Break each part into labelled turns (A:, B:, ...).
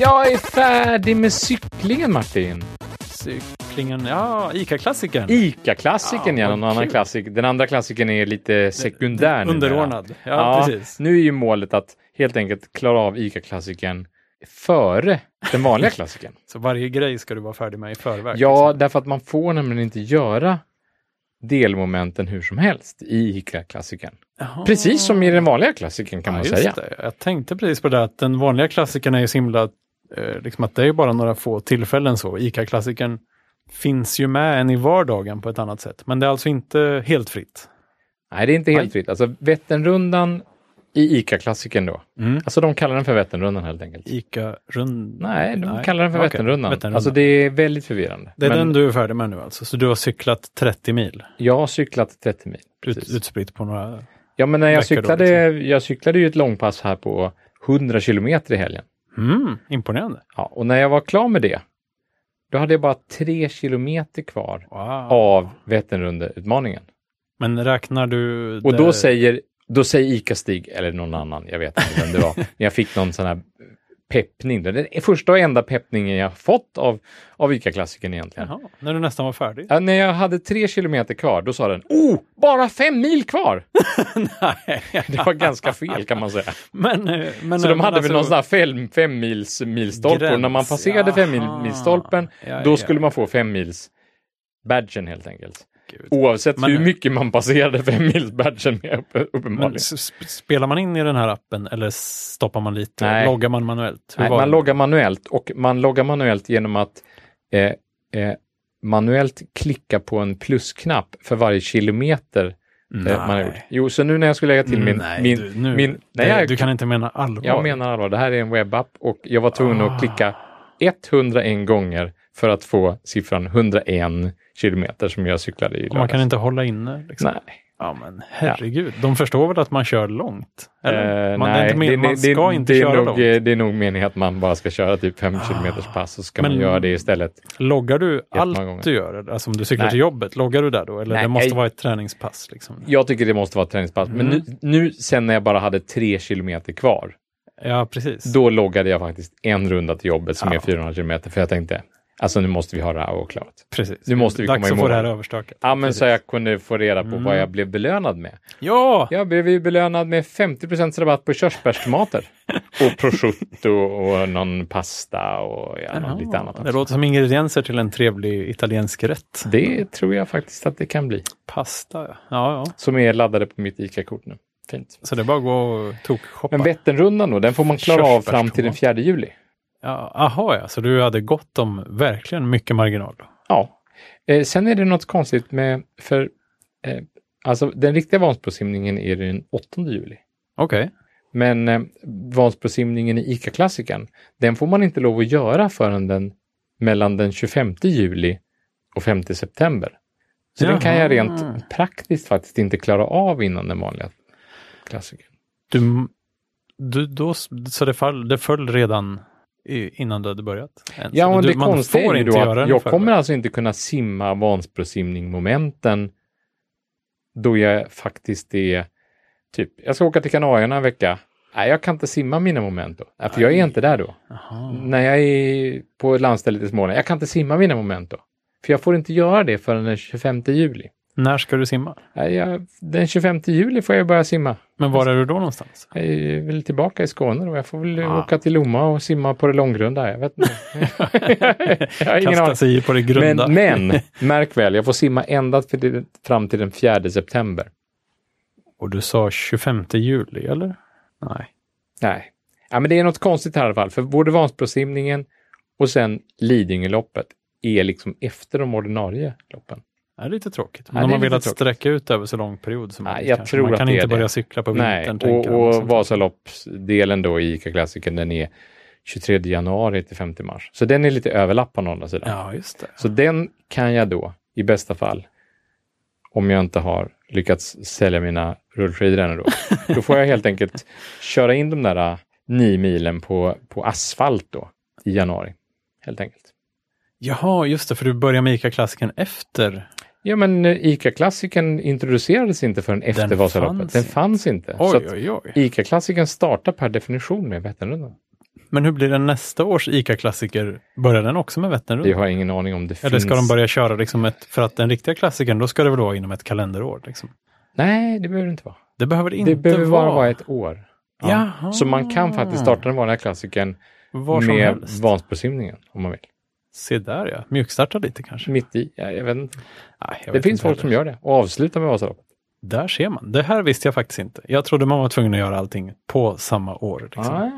A: Jag är färdig med cyklingen, Martin.
B: Cyklingen, ja, ICA-klassikern.
A: ICA-klassikern,
B: Ja,
A: ja.
B: vad
A: Någon annan
B: kul.
A: klassik. Den andra klassikern är lite sekundär numera.
B: Underordnad. Ja, precis.
A: Nu är ju målet att helt enkelt klara av ICA-klassikern före den vanliga klassikern.
B: Så varje grej ska du vara färdig med i förväg.
A: ja,
B: liksom.
A: därför att man får nämligen inte göra delmomenten hur som helst i ICA-klassikern.
B: Jaha.
A: Precis som i den vanliga klassikern kan
B: Ja,
A: man
B: just
A: säga.
B: Det. Jag tänkte precis på det att den vanliga klassikern är ju så himla, eh, liksom att det är ju bara några få tillfällen så. ICA-klassikern finns ju med en i vardagen på ett annat sätt. Men det är alltså inte helt fritt.
A: Nej, det är inte helt
B: Nej.
A: fritt. Alltså Vätternrundan i ICA-klassikern då. Alltså de kallar den för Vätternrundan helt enkelt.
B: ICA-rundan.
A: Nej, de kallar den för
B: Okej,
A: Vätternrundan.
B: Vätternrundan.
A: Alltså det är väldigt förvirrande.
B: det är
A: Men
B: den du är färdig med nu alltså. Så du har cyklat 30 mil
A: Jag har cyklat 30 mil.
B: ut,
A: precis.
B: utspritt på några...
A: Ja, men när jag
B: veckor då, liksom.
A: cyklade, jag cyklade ju ett långpass här på 100 kilometer i helgen.
B: Mm, imponerande.
A: Ja, och när jag var klar med det, då hade jag bara 3 kilometer kvar
B: Wow.
A: av Vätternrunda-utmaningen.
B: Men räknar du...
A: Och
B: det-
A: då säger, då säger ICA-Stig, eller någon annan, jag vet inte vem det var, men jag fick någon sån här peppning. Den första och enda peppningen jag fått av, av ICA-klassikern egentligen.
B: Jaha, när du nästan var färdig?
A: Ja, när jag hade tre kilometer kvar, då sa den oh, bara fem mil kvar!
B: Nej.
A: Det var ganska fel kan man säga.
B: Men, eh, men,
A: Så de
B: men
A: hade väl
B: alltså-
A: någon sån här fem, fem mils milstolpe och när man
B: Gräns,
A: passerade fem mil,
B: jaha.
A: milstolpen,
B: Ja,
A: då
B: ja,
A: skulle man få fem mils badgen helt enkelt.
B: Gud.
A: Oavsett
B: Men-
A: hur mycket man passerade fem mils badgen med upp-
B: Men
A: uppenbarligen.
B: s- sp- spelar man in i den här appen eller stoppar man lite?
A: Nej.
B: Loggar man manuellt? Hur
A: Nej,
B: var
A: man
B: det?
A: loggar manuellt och man loggar manuellt genom att eh, eh, manuellt klicka på en plusknapp för varje kilometer eh, man har gjort. Jo, så nu när jag skulle lägga till min...
B: Mm, Nej,
A: min,
B: du, nu,
A: min nej,
B: det,
A: jag,
B: du kan inte mena allvar.
A: jag menar allvar, det här är en webbapp och jag var tvungen
B: Ah.
A: att klicka 101 gånger för att få siffran 101 kilometer som jag cyklade i
B: Och man
A: lördags.
B: kan inte hålla inne. Liksom.
A: Nej,
B: Ja, men herregud. De förstår väl att man kör långt? Eller?
A: Eh,
B: man,
A: nej
B: det är inte men-
A: det,
B: man
A: det,
B: ska
A: det,
B: inte
A: det är
B: köra
A: nog,
B: långt.
A: eh, Det är nog meningen att man bara ska köra typ
B: Ah.
A: 5 kilometers pass och så ska man
B: Men-
A: göra det istället.
B: Loggar du allt
A: gånger.
B: du gör? Alltså om du cyklar
A: Nej.
B: till jobbet, loggar du där då? Eller
A: Nej,
B: det måste
A: jag-
B: vara ett träningspass? Liksom.
A: Jag tycker det måste vara ett träningspass. Men
B: Mm.
A: nu, nu sen när jag bara hade tre kilometer kvar,
B: Ja, precis.
A: då loggade jag faktiskt en runda till jobbet som
B: Ah.
A: är 400 kilometer. För jag tänkte, alltså nu måste vi ha det här avklarat.
B: precis.
A: Nu måste vi
B: Dags
A: komma i
B: att få
A: mål.
B: det här överstökat.
A: Ja, men så jag kunde få reda på vad jag blev belönad med.
B: Ja!
A: Jag blev ju belönad med 50 rabatt på körsbärstomater. och prosciutto och någon pasta och ja, något lite annat.
B: Det
A: Också.
B: låter som ingredienser till en trevlig italiensk rätt.
A: Det tror jag faktiskt att det kan bli.
B: Pasta, ja. ja, ja.
A: Som är laddade på mitt ICA-kort nu. Fint.
B: Så det är bara att gå och tokshoppa.
A: Men Vätternrundan då, den får man klara av fram till den 4 juli.
B: Ja, aha, ja, så du hade gott om verkligen mycket marginal. då.
A: Ja. Eh, sen är det något konstigt med, för eh, alltså den riktiga Vansbrosimningen är den 8 juli.
B: Okej.
A: Men eh, Vansbrosimningen i ICA-klassikern, den får man inte lov att göra förrän den mellan den 25 juli och 5 september. Så den kan jag
B: Jaha.
A: rent praktiskt faktiskt inte klara av innan den vanliga klassikern.
B: Du, du, då, så det, fall, det föll redan i, innan du hade börjat? ens?
A: Ja, men
B: du,
A: det konstiga är ju då
B: göra
A: att
B: den
A: jag
B: för-
A: kommer alltså inte kunna simma Vansbrosimning-momenten då jag faktiskt är typ, jag ska åka till Kanarierna en vecka. Nej, jag kan inte simma mina moment då. Nej, för jag är inte där då.
B: Jaha.
A: Mm. När jag är på landstället i Småland, jag kan inte simma mina moment då. För jag får inte göra det förrän den 25 juli.
B: När ska du simma?
A: Nej, jag, den 25 juli får jag börja simma.
B: Men var är du då någonstans?
A: Jag är väl tillbaka i Skåne då. Jag får väl
B: Ah.
A: åka till Lomma och simma på det långgrunda. Jag vet inte. jag har ingen aning.
B: Kasta sig i på det grunda.
A: Men, men märk väl, jag får simma ända till den- fram till den 4 september.
B: Och du sa 25 juli, eller? Nej.
A: Nej, ja, men det är något konstigt här i alla fall. För både Vansbrosimningen och sen Lidingöloppet är liksom efter de ordinarie loppen.
B: Det är lite tråkigt.
A: Ja,
B: Men om
A: det är
B: man vill
A: lite
B: att
A: tråkigt.
B: sträcka ut det över så lång period som
A: Nej,
B: möjligt
A: jag
B: kanske.
A: tror
B: Man
A: att
B: kan
A: det är
B: inte
A: det.
B: börja cykla på
A: Nej,
B: vintern.
A: och,
B: tänker liksom. jag,
A: och
B: sånt.
A: Vasaloppsdelen då i ICA-klassikern, den är 23 januari till 5 mars. Så den är lite överlappande å andra sidan.
B: Ja, just det.
A: Så den kan jag då, i bästa fall, om jag inte har lyckats sälja mina rullskidor ännu då, då får jag helt enkelt köra in de där äh, nio milen på, på asfalt då i januari. Helt enkelt.
B: Jaha, just det, för du börjar med ICA-klassikern efter.
A: Ja, men eh, ICA-klassikern introducerades inte förrän efter
B: Den
A: Vasaloppet.
B: fanns
A: den
B: inte.
A: fanns inte. så
B: Oj,
A: att
B: oj, oj.
A: ICA-klassikern startar per definition med Vätternrundan.
B: Men hur blir den nästa års ICA-klassiker? Börjar den också med
A: Vi
B: Vätternrundan?
A: har ingen aning om det
B: Eller
A: finns.
B: ska de börja köra liksom ett, för att den riktiga klassikern, då ska det väl vara inom ett kalenderår? Liksom.
A: Nej, det behöver det inte vara.
B: Det behöver det inte
A: det behöver
B: vara.
A: bara vara ett år. Ja.
B: Jaha.
A: Så man kan faktiskt starta den vanliga klassikern
B: Var som
A: med
B: helst.
A: Vansbrosimningen om man vill.
B: Se där ja, mjukstarta lite kanske.
A: Mitt i, ja, jag vet inte.
B: Nej, jag
A: Det
B: vet
A: finns
B: inte
A: folk
B: heller.
A: som gör det och avslutar med Vasaloppet.
B: Där ser man. Det här visste jag faktiskt inte. Jag trodde man var tvungen att göra allting på samma år. Liksom.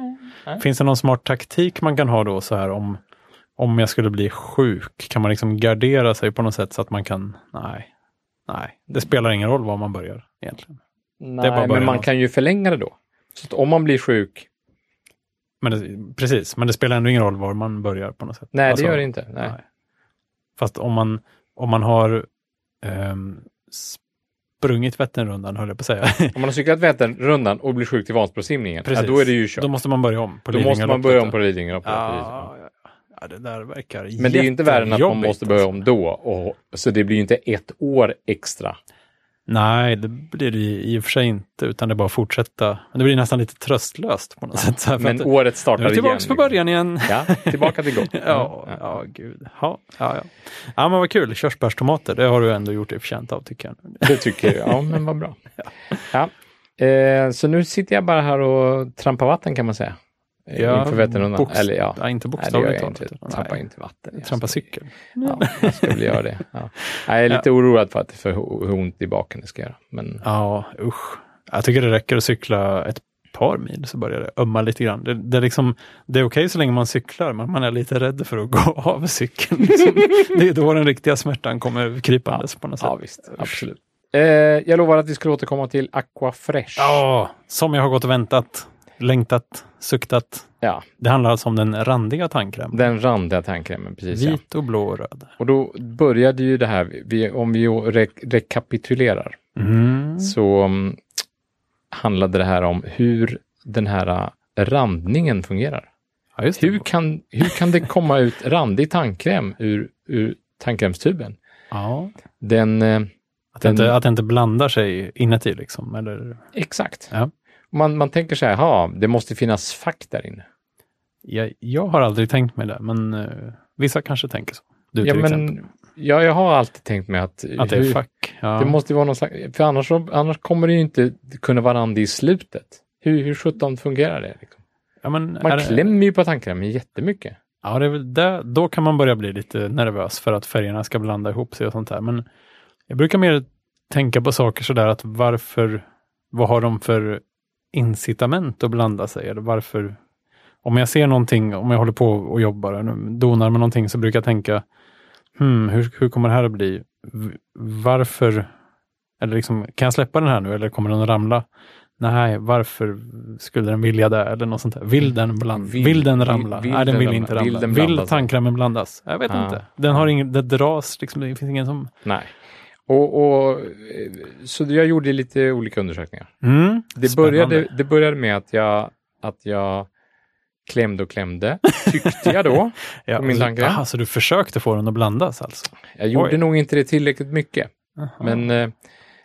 A: Nej.
B: Finns det någon smart taktik man kan ha då så här om, om jag skulle bli sjuk? Kan man liksom gardera sig på något sätt så att man kan, nej, nej, det spelar ingen roll var man börjar egentligen.
A: Nej,
B: bara början
A: men man
B: av-
A: kan ju förlänga det då. Så att om man blir sjuk,
B: Men det, precis, men det spelar ändå ingen roll var man börjar på något sätt.
A: nej
B: Alltså,
A: det gör det inte. Nej.
B: nej. Fast om man, om man har ehm, sprungit Vätternrundan, höll jag på att säga.
A: Om man har cyklat Vätternrundan och blir sjuk till Vansbrosimningen, ja,
B: Precis.
A: då är det ju kört.
B: Då måste man börja om. På
A: Då måste man
B: Lidingöloppet
A: börja om
B: då.
A: på Lidingöloppet.
B: Ja, ja, ja. ja, det där verkar
A: Men det är ju inte värre än att man
B: jättejobbigt,
A: måste börja
B: alltså.
A: om då. Och, så det blir ju inte ett år extra.
B: Nej, det blir det ju i och för sig inte, utan det är bara att fortsätta. Men det blir nästan lite tröstlöst på något sätt. Så här, för
A: Men
B: att,
A: året startar
B: nu är vi tillbaka
A: igen. liksom. Mm,
B: på början igen.
A: Ja, tillbaka till gott.
B: Ja, ja, gud. Ja, ja, ja. ja, men vad kul. Körsbärstomater, det har du ändå gjort dig förtjänt av tycker jag.
A: Det tycker jag. Ja, men vad bra. Ja. Eh, så nu sitter jag bara här och trampar vatten kan man säga. Eh,
B: Ja,
A: Inför Vätternrundan.
B: bokst-
A: Eller ja,
B: Ja, inte
A: nej, det gör
B: bokstavligt
A: jag inte.
B: talat.
A: Trampar
B: Nej,
A: inte vatten. Jag
B: Trampa
A: ska-
B: cykel.
A: Ja, jag ska väl göra det. Ja. Jag är lite oroad för, att, för hur hur ont i baken det ska göra. Men
B: Ja, usch. Jag tycker det räcker att cykla ett par mil så börjar det ömma lite grann. Det, det är, liksom, det är okej så länge man cyklar, men man är lite rädd för att gå av cykeln. Liksom. det är då den riktiga smärtan kommer krypandes på något sätt.
A: ja, visst. Absolut. Eh, jag lovar att vi skulle återkomma till Aqua Fresh.
B: Ja, som jag har gått och väntat, längtat, suktat.
A: Ja,
B: Det handlar alltså om den randiga tandkrämen.
A: den randiga tandkrämen, precis. Ja.
B: Vit och blå och röd.
A: Och då började ju det här, vi, om vi re, rekapitulerar,
B: Mm.
A: så mm, handlade det här om hur den här eh, randningen fungerar.
B: Ja, just
A: Hur
B: det.
A: kan, hur kan det komma ut randig tandkräm ur, ur tandkrämstuben?
B: Ja.
A: Den, eh,
B: Att, det
A: Den-
B: inte, att det inte blandar sig inuti liksom. Eller,
A: exakt.
B: Ja.
A: Man, man tänker så här, ja, det måste finnas fack där inne.
B: jag, jag har aldrig tänkt mig det, men eh, vissa kanske tänker så. Du
A: Ja,
B: till exempel.
A: men, ja, jag har alltid tänkt mig att,
B: Att det är
A: hur-
B: fack. Ja.
A: det måste ju vara någon slags, för annars, så- annars kommer det ju inte kunna vara randig i slutet. Hur, hur sjutton fungerar det? Liksom?
B: ja, men är
A: Man
B: det-
A: klämmer ju på tandkrämen jättemycket.
B: Ja, det är väl det, då kan man börja bli lite nervös för att färgerna ska blanda ihop sig och sånt där. Men jag brukar mer tänka på saker sådär att varför, vad har de för incitament att blanda sig? Eller varför, om jag ser någonting, om jag håller på och jobbar, eller donar med någonting, så brukar jag tänka, hmm, hur, hur kommer det här att bli? V- Varför, eller liksom, kan jag släppa den här nu eller kommer den att ramla? Nej, varför skulle den vilja det? Eller något sånt där. Vill den, bland,
A: Mm. Vill-
B: vill, den ramla?
A: vill- vill
B: Nej, den
A: den
B: vill
A: ramla?
B: inte
A: Vill
B: ramla.
A: den
B: Vill,
A: blanda sig?
B: tandkrämen blandas? Jag vet
A: Ah.
B: inte. Den har ingen, det dras liksom, det finns ingen som...
A: Nej. Och, och, eh, så jag gjorde lite olika undersökningar.
B: Mm.
A: Det
B: Spännande.
A: började, det började med att jag, att jag klämde och klämde, tyckte jag då.
B: Ja,
A: på min
B: så-
A: tandkräm.
B: Aha, så du försökte få den att blandas alltså?
A: Jag gjorde
B: Oj.
A: nog inte det tillräckligt mycket,
B: Aha.
A: men, eh,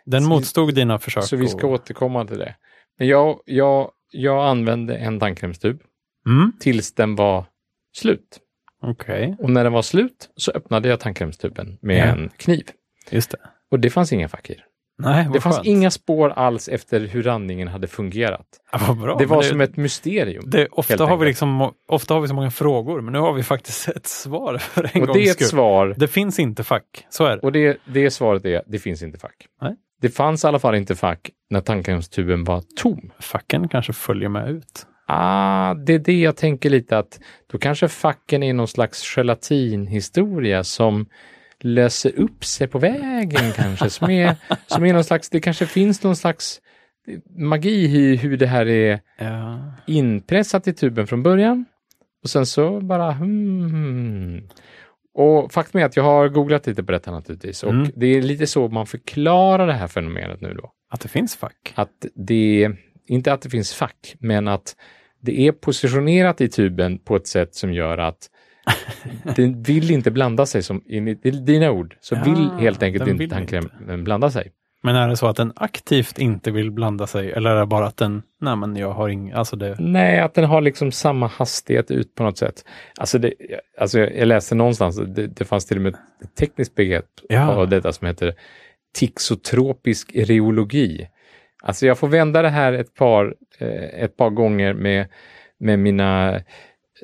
B: den
A: så-
B: motstod dina försök?
A: så vi ska
B: och-
A: återkomma till det. Men jag, jag, jag använde en tandkrämstub
B: Mm,
A: tills den var slut.
B: Okej,
A: Och när den var slut så öppnade jag tandkrämstuben med
B: Ja.
A: en kniv.
B: just det.
A: Och det fanns inga fack i.
B: Nej, vad
A: Det fanns
B: skönt.
A: inga spår alls efter hur randningen hade fungerat.
B: Ja, vad bra.
A: det
B: men
A: var som ett mysterium.
B: det, ofta,
A: helt
B: har vi
A: enkelt.
B: liksom, ofta har vi så många frågor, men nu har vi faktiskt ett svar för en
A: och det
B: gångs
A: är ett
B: skull.
A: svar.
B: Det finns inte fack, så är det.
A: Och det, det svaret är, det finns inte fack.
B: Nej.
A: Det fanns i alla fall inte fack när tandkrämstuben var tom.
B: Facken kanske följer med ut.
A: Ah, det är det jag tänker lite att då kanske facken är någon slags gelatinhistoria som löser upp sig på vägen kanske. Som är, som är någon slags, det kanske finns någon slags magi i hur det här är
B: Ja.
A: inpressat i tuben från början. Och sen så bara hmm. Och faktum är att jag har googlat lite på detta naturligtvis. Och
B: Mm.
A: det är lite så man förklarar det här fenomenet nu då.
B: Att det finns fack.
A: Att det, inte att det finns fack, men att det är positionerat i tuben på ett sätt som gör att den vill inte blanda sig, som enligt dina ord, så
B: Ja,
A: vill helt enkelt
B: den
A: inte
B: vill
A: tandkrämen blanda sig.
B: Men är det så att den aktivt inte vill blanda sig eller är det bara att den, nej men jag har ing, alltså det,
A: Nej, att den har liksom samma hastighet ut på något sätt. Alltså, det, alltså jag jag läste någonstans, det, det fanns till och med ett tekniskt begrepp
B: Ja.
A: av detta som heter tixotropisk reologi. Alltså jag får vända det här ett par, eh, ett par gånger med, med mina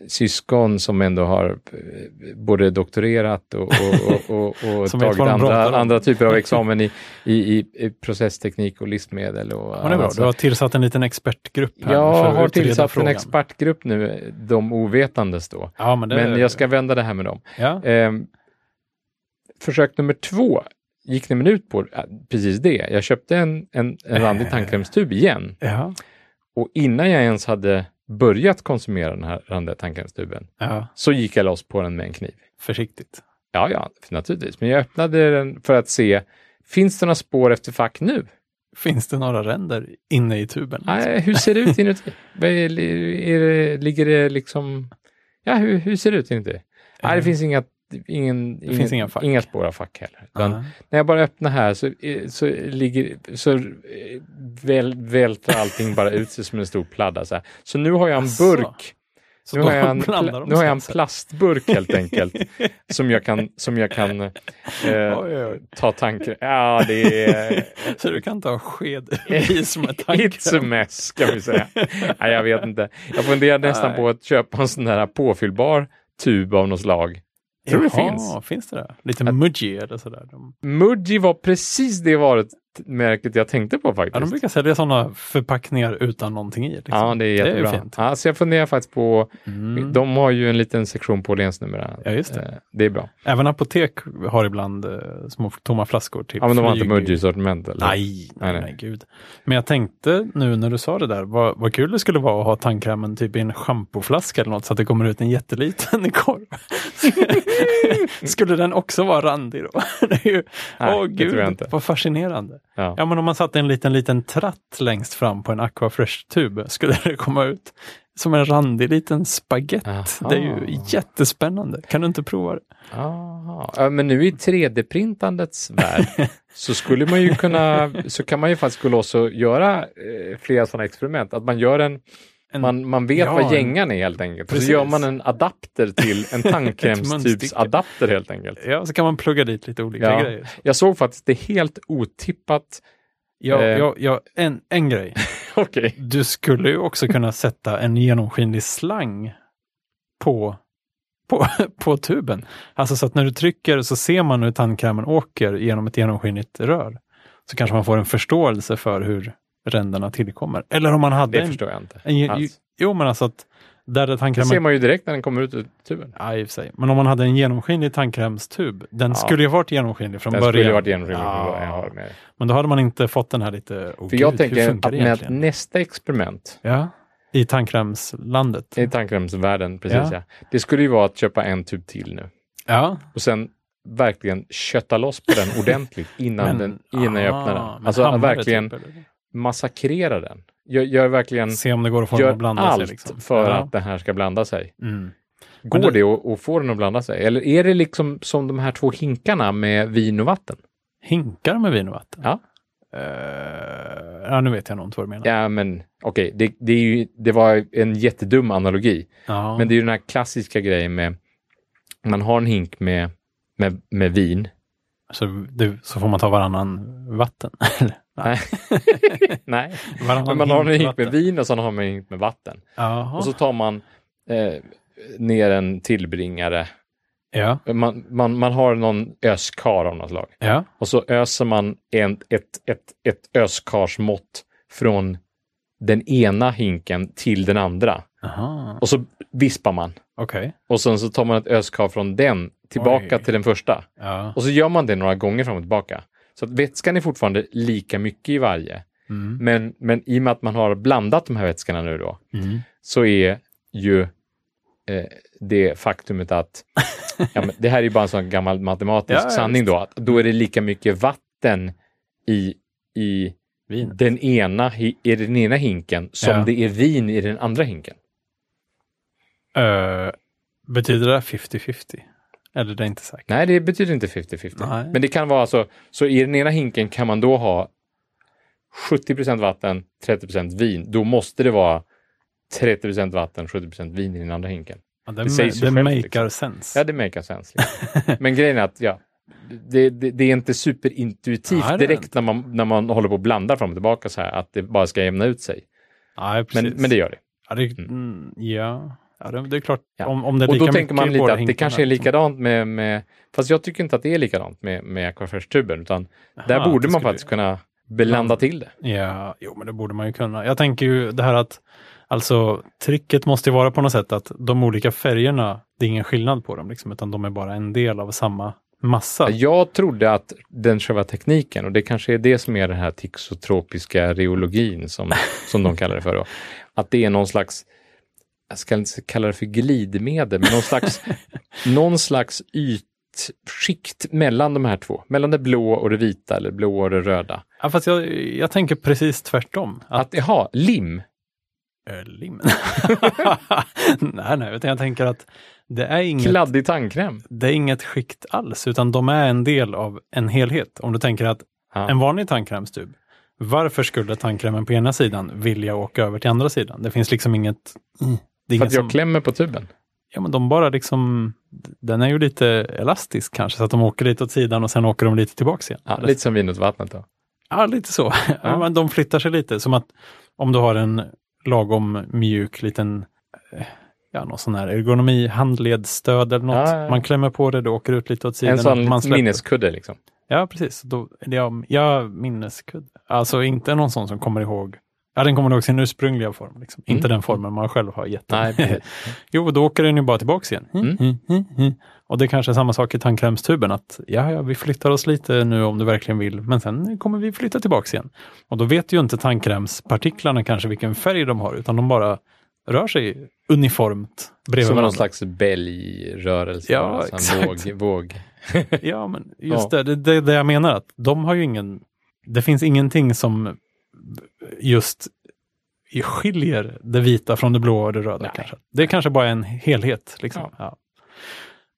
A: syskon som ändå har eh, både doktorerat och, och, och, och, och
B: Som vet
A: tagit
B: vad de pratar
A: andra,
B: om.
A: andra typer av examen i, i, i i processteknik och livsmedel. Och
B: men det är bra.
A: annat.
B: Du har tillsatt en liten expertgrupp här
A: alltså- Jag
B: för att
A: har
B: utreda
A: tillsatt
B: frågan.
A: en expertgrupp nu, de ovetandes då.
B: Ja, men, det,
A: Men jag ska vända det här med dem.
B: ja.
A: Ehm, försök nummer två gick nämligen ut på eh, precis det. Jag köpte en, en, en randig tandkrämstub igen
B: Ja,
A: och innan jag ens hade börjat konsumera den här randiga tandkrämstuben
B: ja,
A: så gick jag loss på den med en kniv.
B: försiktigt.
A: Ja, ja, naturligtvis. Men jag öppnade den för att se, finns det några spår efter fack nu?
B: Finns det några ränder inne i tuben?
A: Nej, hur ser det ut inuti? Vad är, är det, ligger det liksom... Ja, hur, hur ser det ut inuti? Nej, det finns inga, ingen, ingen,
B: Eh. finns inga fack. Ah.
A: inga spår av fack heller. Utan
B: Aha.
A: När jag bara öppnar här så, eh, så, ligger, så eh, väl, välter allting bara ut sig som en stor pladda. Så, här. så nu har jag en
B: Asså.
A: burk.
B: Alltså, Så
A: Nu
B: då
A: har, jag en,
B: blandar
A: pla-
B: de
A: nu har jag en
B: sig. alltså.
A: plastburk helt enkelt. som jag kan, som jag kan eh,
B: Oj, oj,
A: ta tanken... Ja, det är...
B: oj. Så du kan ta en sked i som en
A: It's a
B: tandkräm?
A: mess, kan vi säga. Nej, jag vet inte. Jag funderar nästan
B: Nej.
A: på att köpa en sån här påfyllbar tub av något slag. Tror det finns.
B: Jaha, finns det det? Lite Muji eller sådär. De,
A: Muji var precis det varumärket jag tänkte på faktiskt.
B: ja, de brukar sälja sådana förpackningar utan någonting i. Liksom.
A: Ja, det är
B: ju
A: jättebra.
B: fint.
A: ja, så jag funderar faktiskt på,
B: Mm.
A: de har ju en liten sektion på Åhléns numera.
B: Ja, just det.
A: Eh, Det är bra.
B: Även apotek har ibland eh, små tomma flaskor till
A: Ja, men de har inte
B: flyg.
A: Muji-sortiment eller?
B: Nej,
A: Nej,
B: nej, nej,
A: nej.
B: gud. Men jag tänkte nu när du sa det där, vad, vad kul det skulle vara att ha tandkrämen typ i en schampoflaska eller något så att det kommer ut en jätteliten korv. skulle den också vara randig då? det är ju,
A: Nej,
B: åh
A: det tror jag
B: gud,
A: inte.
B: vad fascinerande.
A: Ja.
B: Ja, men om man satte en liten, liten tratt längst fram på en Aquafresh-tub skulle det komma ut som en randig liten spagett.
A: Aha.
B: Det är ju jättespännande. Kan du inte prova det?
A: Aha. Ja, men nu i 3D-printandets värld så skulle man ju kunna, så kan man ju faktiskt gå loss och göra eh, flera sådana experiment. Att man gör en,
B: En-
A: man, man vet
B: ja, en-
A: vad gängan är helt enkelt. Och
B: Precis.
A: så gör man en adapter till en
B: munstycke.
A: tandkrämstubsadapter helt enkelt.
B: Ja, så kan man plugga dit lite olika
A: Ja.
B: grejer.
A: Jag såg faktiskt det helt otippat.
B: Ja,
A: Eh.
B: ja, ja, en, en grej.
A: Okej.
B: Du skulle ju också kunna sätta en genomskinlig slang på, på, på tuben. Alltså så att när du trycker så ser man hur tandkrämen åker genom ett genomskinligt rör. Så kanske man får en förståelse för hur ränderna tillkommer. Eller om man hade
A: Det
B: en,
A: förstår jag inte.
B: en, ge-
A: alls.
B: Jo, men alltså att där det
A: Det ser
B: tandkrämen...
A: man ju direkt när den kommer ut ur tuben.
B: Ja, i och för sig. Men om man hade en genomskinlig tandkrämstub, den
A: Ja.
B: skulle ju varit genomskinlig från
A: Den
B: början.
A: skulle ju varit genomskinlig.
B: Ja.
A: Jag håller med dig.
B: Men då hade man inte fått den här lite, oh,
A: För jag
B: gud, hur
A: tänker
B: funkar
A: att
B: det
A: med
B: egentligen?
A: nästa experiment
B: Ja, i tandkrämslandet.
A: I tandkrämsvärlden, precis
B: Mm. Ja.
A: ja. Det skulle ju vara att köpa en tub till nu
B: Ja,
A: och sen verkligen kötta loss på den ordentligt innan, den, innan jag öppnar
B: Ah, men
A: den. Alltså att
B: hammare
A: verkligen
B: typ, eller?
A: massakrera den. Gör, gör verkligen
B: Se om det går att få den
A: gör
B: att blanda
A: allt
B: sig. Liksom.
A: för
B: ja.
A: att den här ska blanda sig.
B: Mm.
A: Går
B: det-
A: det, att, att få den att blanda sig? Eller är det liksom som de här två hinkarna med vin och vatten?
B: Hinkar med vin och vatten?
A: Ja.
B: Eh, ja, nu vet jag nog inte vad du menar.
A: Ja, men okej, det, det, är ju, det var en jättedum analogi.
B: Ja.
A: Men det är ju den här klassiska grejen med, man har en hink med, med, med vin.
B: så, du, så får man ta varannan vatten. Eller? Nej,
A: Nej,
B: varannan
A: Men man har en hink med
B: vatten.
A: vin och sen har man en hink med vatten.
B: Jaha.
A: Och så tar man eh, ner en tillbringare.
B: Ja,
A: Man, man, man har någon öskar av något slag.
B: ja.
A: Och så öser man en, ett, ett, ett öskarsmått från den ena hinken till den andra.
B: Aha.
A: Och så vispar man.
B: Okej.
A: Och sen så tar man ett öskar från den tillbaka
B: Oj.
A: till den första.
B: Ja.
A: Och så gör man det några gånger fram och tillbaka. Så att vätskan är fortfarande lika mycket i varje.
B: Mm.
A: Men, men i och med att man har blandat de här vätskorna nu då,
B: Mm.
A: så är ju eh, det faktumet att, ja, men det här är ju bara en sån gammal matematisk
B: Ja, ja,
A: sanning då, att då är det lika mycket vatten i, i
B: Vin.
A: den, ena, hi- i den ena hinken som
B: Ja.
A: det är vin i den andra hinken.
B: Eh, betyder det 50-50? Eller det är inte säkert.
A: Nej, det betyder inte 50-50.
B: Nej.
A: Men det kan vara så, så i den ena hinken kan man då ha 70 vatten, 30 vin. Då måste det vara 30 vatten, 70 vin i den andra hinken.
B: Ja, det
A: det sägs ju
B: det
A: självt,
B: makar
A: liksom.
B: sense.
A: Ja, det make sense. Liksom. Men grejen är att ja, det, det, det är inte superintuitivt
B: Nej, det är det
A: direkt när man, när man håller på och blandar fram och tillbaka så här, att det bara ska jämna ut sig.
B: Nej, precis.
A: Men, men det gör det.
B: Ja, det, mm. ja. Ja, det, det är klart.
A: Ja.
B: Om, om det är
A: Och
B: lika
A: då tänker man
B: mycket i båda
A: lite att det
B: hinkarna,
A: kanske är
B: liksom.
A: likadant med, med... Fast jag tycker inte att det är likadant med, med Aquafresh-tuben, utan
B: Aha,
A: där borde
B: liksom. det
A: man
B: skulle-
A: faktiskt kunna blanda till det.
B: Ja, jo, men det borde man ju kunna. Jag tänker ju det här att alltså tricket måste ju vara på något sätt att de olika färgerna, det är ingen skillnad på dem, liksom, utan de är bara en del av samma massa.
A: Jag trodde att den själva tekniken, och det kanske är det som är den här tixotropiska reologin som, som de kallar det för, då, att det är någon slags, jag ska inte kalla det för glidmedel, men någon slags, någon slags ytskikt mellan de här två, mellan det blå och det vita eller blå och det röda.
B: Ja, fast jag, jag tänker precis tvärtom. Att,
A: Att jaha, lim,
B: Mm. äh, lim. nej, nej, utan jag tänker att det är, inget,
A: kladdig tandkräm.
B: det är inget skikt alls, utan de är en del av en helhet. Om du tänker att
A: Ja.
B: en vanlig tandkrämstub, varför skulle tandkrämen på ena sidan vilja åka över till andra sidan? Det finns liksom inget... Det är
A: Mm. För
B: inget
A: att jag
B: som-
A: klämmer på tuben.
B: Ja, men de bara liksom, den är ju lite elastisk kanske, så att de åker lite åt sidan och sen åker de lite tillbaks igen.
A: Ja, lite som vinutvattnet då.
B: ja, lite så. Ja.
A: Ja.
B: men de flyttar sig lite, som att om du har en lagom mjuk liten, eh, ja, någon sån här ergonomi, handledsstöd eller något.
A: Ja, ja, ja.
B: Man klämmer på det, det åker ut lite åt sidan.
A: En sån
B: man
A: liten
B: släpper.
A: minneskudde liksom.
B: Ja, precis. Då, det är, ja, minneskudde. Alltså inte någon sån som kommer ihåg, ja, den kommer ihåg sin ursprungliga form. Liksom.
A: Mm.
B: Inte den formen man själv har gett den.
A: Nej, precis.
B: Jo, då åker den ju bara tillbaks igen. Hi,
A: Mm.
B: hi, hi, hi. Och det är kanske är samma sak i tandkrämstuben, att ja, ja, vi flyttar oss lite nu om du verkligen vill, men sen kommer vi flytta tillbaks igen. Och då vet ju inte tandkrämspartiklarna kanske vilken färg de har, utan de bara rör sig uniformt bredvid
A: Som någon
B: varandra.
A: slags bälgrörelse.
B: Ja,
A: bara, så en
B: exakt.
A: Våg, våg.
B: Ja, men just det, det, det är det jag menar, att de har ju ingen, det finns ingenting som just skiljer det vita från det blå och det röda.
A: Nej.
B: Kanske. Det är kanske bara en helhet. Liksom. Ja.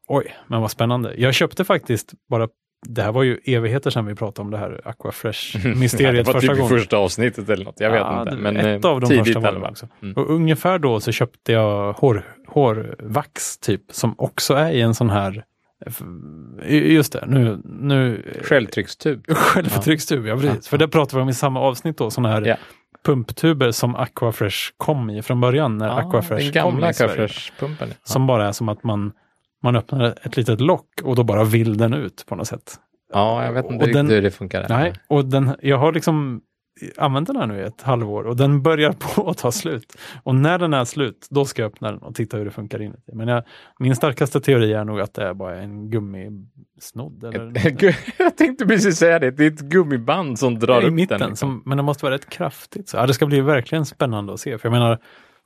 B: Oj, men vad spännande. Jag köpte faktiskt bara, det här var ju evigheter sedan vi pratade om det här
A: det
B: Aquafresh-mysteriet
A: var
B: första
A: typ i
B: gången.
A: första avsnittet eller något. Jag vet
B: Ja,
A: inte.
B: det-
A: Men
B: ett
A: eh,
B: av de
A: tidigt
B: första var
A: i alla
B: det
A: fall.
B: också.
A: Mm.
B: Och ungefär då så köpte jag hår, hårvax typ, som också är i en sån här f- Just det, nu, nu
A: Självtryckstub.
B: Självtryckstub, ja precis. För det pratade vi om i samma avsnitt då, sådana här
A: Ja.
B: pumptuber som Aquafresh kom i från början när Aquafresh
A: Ah, den
B: kom
A: gamla
B: i Sverige.
A: Aquafresh-pumpen. Ja.
B: Som bara är som att man, man öppnar ett litet lock och då bara vill den ut på något sätt.
A: ja, jag vet
B: och
A: inte riktigt
B: den-
A: hur det funkar. där.
B: Nej, och den, jag har liksom använt den här nu i ett halvår och den börjar på att ta slut. Och när den är slut, då ska jag öppna den och titta hur det funkar inuti. Men jag, min starkaste teori är nog att det är bara en gummisnodd. Eller
A: Gud, jag tänkte precis säga det. Det är ett gummiband som drar
B: i
A: upp
B: mitten,
A: den. liksom.
B: som, men det måste vara rätt kraftigt. Så, ja, det ska bli verkligen spännande att se. För jag menar,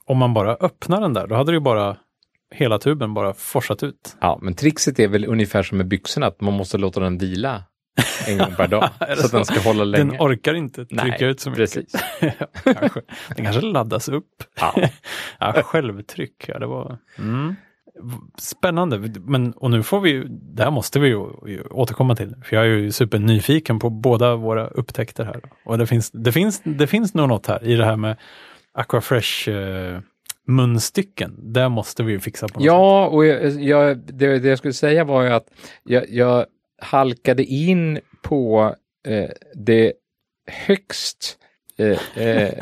B: om man bara öppnar den där, då hade det ju bara hela tuben bara forsat ut.
A: Ja, men trixet är väl ungefär som med byxorna, att man måste låta den vila en gång per dag.
B: Är det
A: så att
B: så?
A: den ska hålla länge.
B: Den orkar inte trycka
A: Nej,
B: ut så mycket.
A: precis.
B: kanske. Den kanske laddas upp.
A: Ja.
B: Ja, självtryck, ja det var... Mm. Spännande, men och nu får vi ju, det här måste vi ju ju återkomma till, för jag är ju supernyfiken på båda våra upptäckter här. Och det finns, det finns, det finns nog något här i det här med Aquafresh eh, munstycken. Det måste vi ju fixa på något sätt.
A: Ja, och jag, jag, det, det jag skulle säga var ju att jag, jag halkade in på eh, det högst eh, eh,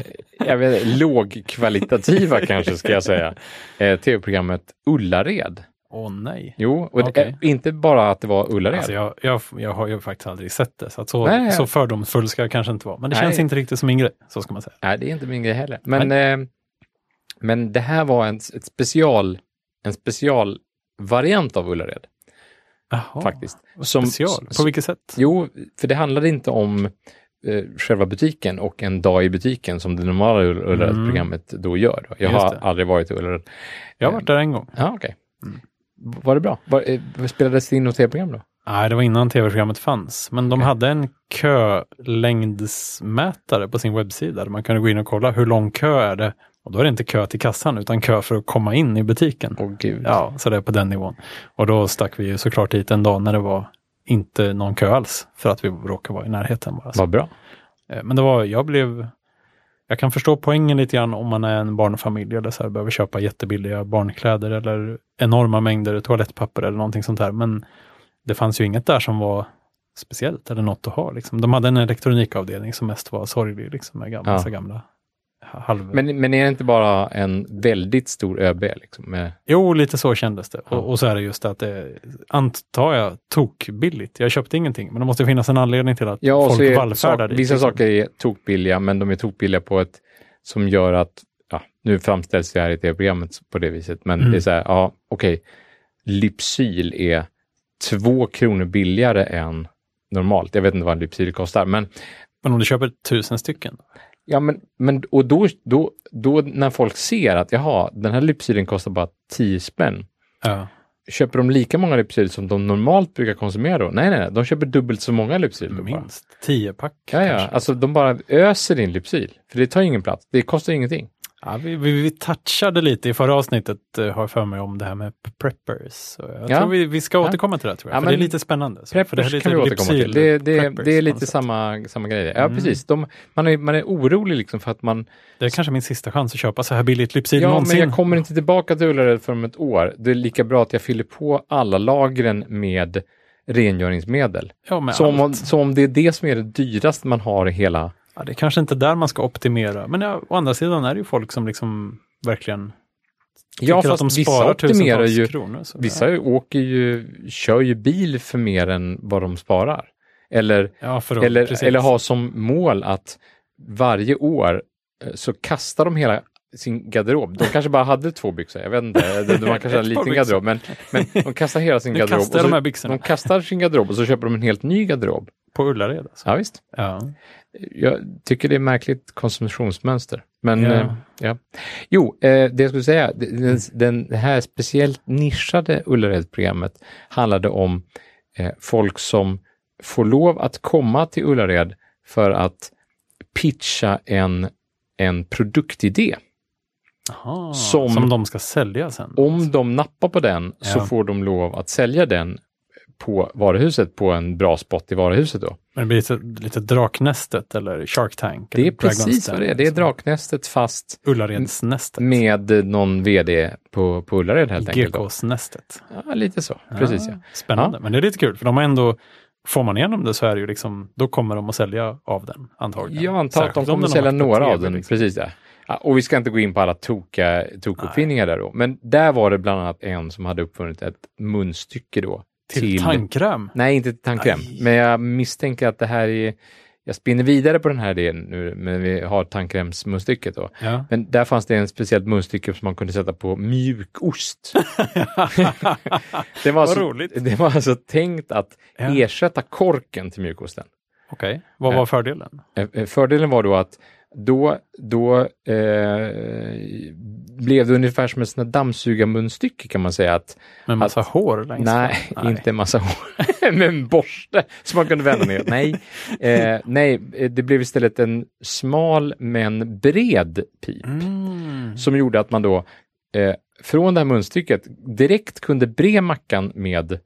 A: jag vet, inte, lågkvalitativa kanske ska jag säga, eh, tv-programmet Ullared.
B: Åh nej.
A: Jo, och det,
B: Okej.
A: eh, inte bara att det var Ullared.
B: Alltså jag, jag, jag har ju faktiskt aldrig sett det, så, att så,
A: Nej, nej.
B: så fördomsfull ska jag kanske inte vara. Men det
A: Nej.
B: känns inte riktigt som min grej, så ska man säga.
A: Nej, det är inte min grej heller. Men, eh, men det här var en, ett special, en special variant av Ullared
B: Jaha,
A: faktiskt.
B: Som,
A: Som-
B: special. På
A: som-
B: vilket sätt?
A: Jo, för det handlade inte om eh, själva butiken och en dag i butiken som det normala Ull- Ullared-programmet då gör. Då. Jag
B: Just
A: har
B: det.
A: aldrig varit i Ullared.
B: Jag har varit där en gång.
A: Ja, okej. Var det bra? Var, eh, spelades det in något tv-program då?
B: Nej, det var innan tv-programmet fanns. Men de
A: Okej.
B: hade en kölängdsmätare på sin webbsida där man kunde gå in och kolla hur lång kö är det Och då är det inte kö till kassan utan kö för att komma in i butiken.
A: Åh gud.
B: Ja, så det är på den nivån. Och då stack vi ju såklart dit en dag när det var inte någon kö alls för att vi råkade vara i närheten bara. Så.
A: Vad bra.
B: Eh, Men det var, jag blev, jag kan förstå poängen lite grann om man är en barnfamilj eller så här, behöver köpa jättebilliga barnkläder eller enorma mängder toalettpapper eller någonting sånt här. Men det fanns ju inget där som var speciellt eller något att ha. Liksom. De hade en elektronikavdelning som mest var sorglig liksom, med gamla,
A: Ja.
B: så gamla halv...
A: Men, men är det inte bara en väldigt stor ÖB? Liksom, med,
B: Jo, lite så kändes det.
A: Ja.
B: Och, och så är det just det att det är, antar jag, tokbilligt. Jag köpte ingenting, men det måste finnas en anledning till att
A: ja, och så
B: folk
A: är,
B: vallfärdar
A: sak,
B: dit.
A: vissa
B: liksom.
A: saker är tokbilliga, men de är tokbilliga på ett som gör att, ja, nu framställs det här i tv-programmet på det viset, men
B: Mm.
A: det är så här, ja, okej, Lypsyl är två kronor billigare än normalt. Jag vet inte vad Lypsyl kostar, men
B: Men om du köper tusen stycken,
A: Ja, men, men och då, då, då när folk ser att jaha, den här lypsylen kostar bara 10 spänn.
B: ja,
A: Köper de lika många lypsyl som de normalt brukar konsumera då? Nej, nej, nej. De köper dubbelt så många lypsyl. då bara.
B: minst tio pack
A: typ Ja, ja.
B: kanske.
A: Alltså de bara öser in lypsyl. För det tar ingen plats. Det kostar ingenting.
B: Ja, vi, vi, vi touchade lite i förra avsnittet, eh, har jag för mig, om det här med p- preppers. Så jag
A: Ja.
B: tror vi, vi ska
A: Ja.
B: återkomma till det, här, tror jag.
A: Ja,
B: för det är
A: men
B: lite spännande. Så, för det här är
A: Preppers
B: lite
A: kan vi återkomma till.
B: lypsyl-
A: Det, det,
B: preppers
A: det är
B: på
A: lite
B: något sätt.
A: samma, samma grej. Ja,
B: Mm.
A: precis. De, man, är, man är orolig liksom för att man...
B: Det är kanske min sista chans att köpa så här billigt Lypsyl
A: ja,
B: någonsin.
A: men jag kommer inte tillbaka till Ullared för om ett år. Det är lika bra att jag fyller på alla lagren med rengöringsmedel.
B: ja, med
A: Som om,
B: allt.
A: som om det är det som är det dyraste man har i hela...
B: Ja, det är kanske inte där man ska optimera, men ja, å andra sidan är det ju folk som liksom verkligen
A: Ja,
B: tycker
A: fast
B: att de
A: vissa
B: sparar
A: optimerar
B: tusentals
A: ju...
B: kronor. Så,
A: Vissa
B: ja.
A: ju åker ju, kör ju bil för mer än vad de sparar. Eller,
B: ja, för
A: eller,
B: precis.
A: eller har som mål att varje år eh, så kastar de hela sin garderob. De kanske bara hade två byxor, jag vet inte. De de har kanske
B: Ett
A: en liten
B: par byxor.
A: garderob, men, men de kastar hela sin
B: Nu
A: garderob. och
B: kastar jag
A: så,
B: de här byxorna
A: de kastar sin garderob och så köper de en helt ny garderob.
B: på Ullared. Alltså.
A: Ja, visst.
B: Ja.
A: Jag tycker det är märkligt konsumtionsmönster. Men
B: Ja.
A: eh, ja. Jo, eh, det jag skulle säga, det- den, den det här speciellt nischade Ullared-programmet handlade om eh, folk som får lov att komma till Ullared för att pitcha en, en produktidé.
B: Aha,
A: Som-
B: som, de ska sälja sen.
A: Om de nappar på den så
B: Ja.
A: får de lov att sälja den på varuhuset, på en bra spot i varuhuset då.
B: Men det blir lite, lite Draknästet eller Shark Tank.
A: Det är
B: eller Dragon's
A: precis vad
B: Den,
A: det är. Det är
B: liksom.
A: Draknästet fast
B: Ullaredsnästet.
A: Med eh, någon vd på, på Ullared helt enkelt. då.
B: GKs-nästet.
A: Ja, lite så. Precis ja.
B: Ah, Spännande, men det är lite kul för de har ändå Får man igenom det så är det ju liksom, då kommer de att sälja av den antagligen.
A: Jag antar att de
B: Särskilt om
A: kommer
B: har
A: sälja
B: varit på
A: några
B: TV,
A: av den.
B: liksom.
A: Precis ja. Ja, Och vi ska inte gå in på alla toka, tokuppfinningar där då. Men där var det bland annat en som hade uppfunnit ett munstycke då.
B: Till, tandkräm.
A: Nej, inte till tandkräm.
B: Nej.
A: Men jag misstänker att det här är... Jag spinner vidare på den här idén nu, men vi har tandkrämsmunstycket då.
B: Ja.
A: Men där fanns det en speciellt munstycke som man kunde sätta på mjukost. det var
B: Vad
A: alltså,
B: roligt.
A: Det var alltså tänkt att
B: Ja.
A: ersätta korken till mjukosten.
B: Okej, vad var fördelen?
A: Eh, eh, Fördelen var då att då, då eh, blev det ungefär som ett sånt här dammsugarmunstycke kan man säga. Att,
B: Med massa hår längst
A: nej,
B: fram?
A: inte en massa hår, men en borste som man kunde vända ner. nej, eh, nej, eh, det blev istället en smal men bred pip
B: Mm.
A: som gjorde att man då eh, från det här munstycket direkt kunde bre mackan med,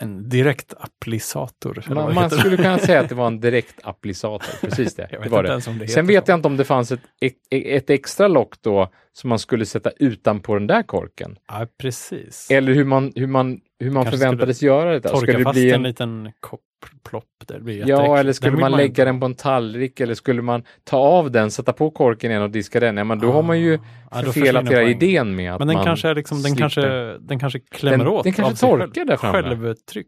B: En direkt applicator. eller
A: man,
B: vad
A: man
B: heter det?
A: skulle kunna säga att det var en direkt applicator, precis det.
B: Jag
A: det
B: vet
A: var
B: inte
A: det.
B: ens om det
A: Sen
B: heter
A: vet
B: så.
A: jag inte om det fanns ett, ett, ett extra lock då som man skulle sätta utanpå den där korken.
B: Ja, precis.
A: Eller hur man, hur man, hur man
B: Kanske
A: förväntades göra det.
B: Torka
A: Skulle det
B: fast
A: bli
B: en...
A: en,
B: liten kopp, plopp. där, Det blir
A: ja,
B: jätteäckligt.
A: eller skulle
B: Den vill
A: man
B: inte
A: lägga
B: ha.
A: den på en tallrik eller skulle man ta av den, sätta på korken igen och diska den? Ja, men då har man ju
B: Ah. Ja, då
A: förfelat
B: försvinner
A: hela
B: poängen.
A: idén med att
B: Men den
A: man
B: kanske, är liksom, den,
A: slipper.
B: kanske, den kanske klämmer
A: Den-
B: åt.
A: den kanske
B: av sig
A: torkar
B: själv.
A: där framme.
B: Självtryck.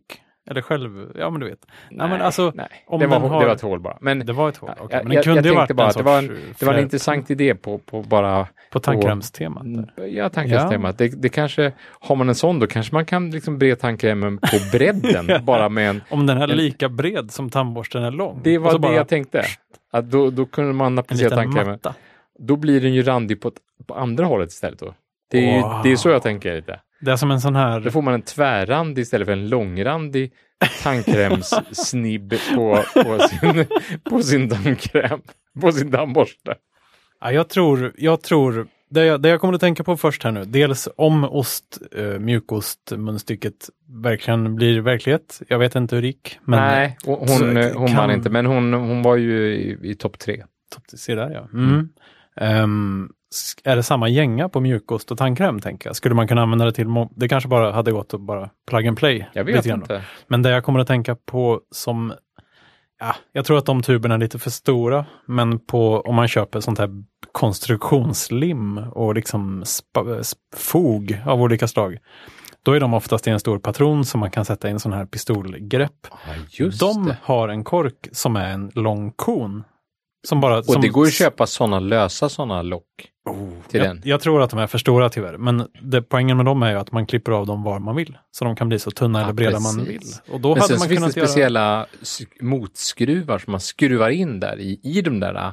B: Eller själv... Ja, men du vet.
A: Nej,
B: men alltså,
A: nej.
B: om
A: det, var,
B: den har-
A: det var ett hål bara. Men
B: Det var ett hål. okej.
A: jag-
B: Men den
A: jag-
B: kunde
A: jag
B: ju varit
A: tänkte bara
B: en
A: att det var
B: sorts,
A: det var en
B: fjär-
A: intressant Mm. idé på, på bara
B: På tandkrämstemat. där.
A: Ja, tandkrämstemat. Det, det kanske, har man en sån då kanske man kan liksom bre tandkrämen på bredden bara med en...
B: Om den är
A: En-
B: lika bred som tandborsten är lång.
A: Det
B: Och
A: var
B: så
A: det
B: bara
A: jag tänkte. Att då, då kunde man
B: En
A: applicera
B: liten
A: tandkrämen.
B: matta.
A: Då blir den ju randig på, ett- på andra hållet istället då. Det är, ju-
B: Wow.
A: det är så jag tänker lite.
B: Det är som en sån
A: Då
B: här...
A: får man en tvärrandig istället för en långrandig tandkrämssnibb på, på, sin, på sin tandkräm, på sin tandborste.
B: Ja, Ja, jag tror, jag tror det, jag, det jag kommer att tänka på först här nu, dels om ost, eh, mjukostmunstycket verkligen blir verklighet. Jag vet inte hur rik, men
A: Nej, hon,
B: Så
A: hon,
B: kan-
A: hon vann inte, men hon, hon var ju i, i topp tre.
B: Topp- se där ja. Mm. Ehm, sk- är det samma gänga på mjukkost och tandkräm tänker jag? Skulle man kunna använda det till, mo- det kanske bara hade gått att bara plug and play.
A: Jag vet
B: lite grann då.
A: inte.
B: Men det jag kommer att tänka på som, ja, jag tror att de tuberna är lite för stora, men på om man köper sånt här konstruktionslim och liksom spa, sp- fog av olika slag, då är de oftast i en stor patron som man kan sätta i en sån här pistolgrepp.
A: Ja, just
B: de
A: det.
B: har en kork som är en lång kon. Som bara,
A: Och
B: som, Oh,
A: det går ju att köpa sådana lösa sådana lock till den.
B: jag, jag tror att de är för stora tyvärr, men det, poängen med dem är ju att man klipper av dem var man vill. Så de kan bli så tunna
A: Ja,
B: eller breda man vill.
A: precis.
B: Och då
A: Men
B: hade
A: sen
B: man
A: så finns det
B: kunnat göra-
A: speciella sk- motskruvar som man skruvar in där i, i de där äh,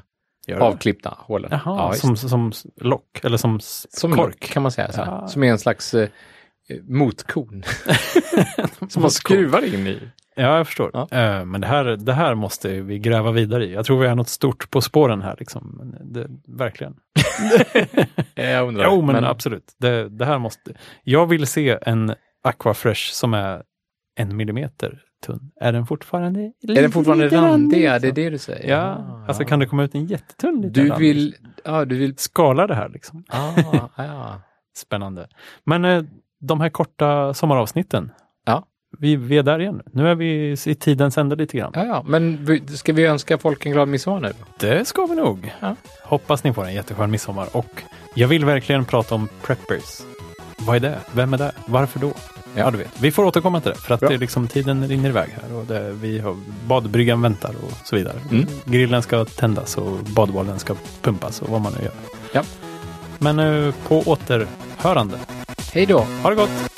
B: Gör det.
A: avklippta hålen.
B: Jaha,
A: Ja, visst.
B: som, som lock eller som, s-
A: som
B: kork.
A: kork kan man säga. Så här.
B: Ja.
A: Som är en slags eh, motkon. som man
B: Motkon.
A: skruvar in i.
B: Ja, jag förstår.
A: Ja.
B: Eh, men det här, det här måste vi gräva vidare i. Jag tror vi är något stort på spåren här. Liksom. Men Det, verkligen.
A: Eh, Jag undrar.
B: Jo, men, absolut. Det, det här måste... Jag vill se en Aquafresh som är en millimeter tunn. Är den fortfarande
A: är den fortfarande randig? Ja, det är det du säger.
B: liksom. Ja,
A: Ah,
B: alltså
A: ja.
B: kan det komma ut en jättetunn liten
A: Du
B: randig?
A: vill... Ja, du vill...
B: skala det här liksom.
A: Ah, ja.
B: Spännande. Men eh, de här korta sommaravsnitten.
A: Ja.
B: Vi, vi är där igen. Nu är vi i tidens ände lite grann.
A: Ja, ja, men vi- ska vi önska folk en glad midsommar nu?
B: Det ska vi nog.
A: Ja.
B: Hoppas ni får en jätteskön midsommar. Och jag vill verkligen prata om preppers. Vad är det? Vem är det? Varför då? Ja, du vet. Vi får återkomma till det, för att
A: Bra.
B: det är liksom, tiden rinner iväg här. Och det, vi har, badbryggan väntar och så vidare.
A: Mm.
B: Grillen ska tändas och badbollen ska pumpas och vad man nu gör.
A: Ja.
B: Men eh, på återhörande.
A: Hej då!
B: Ha det gott!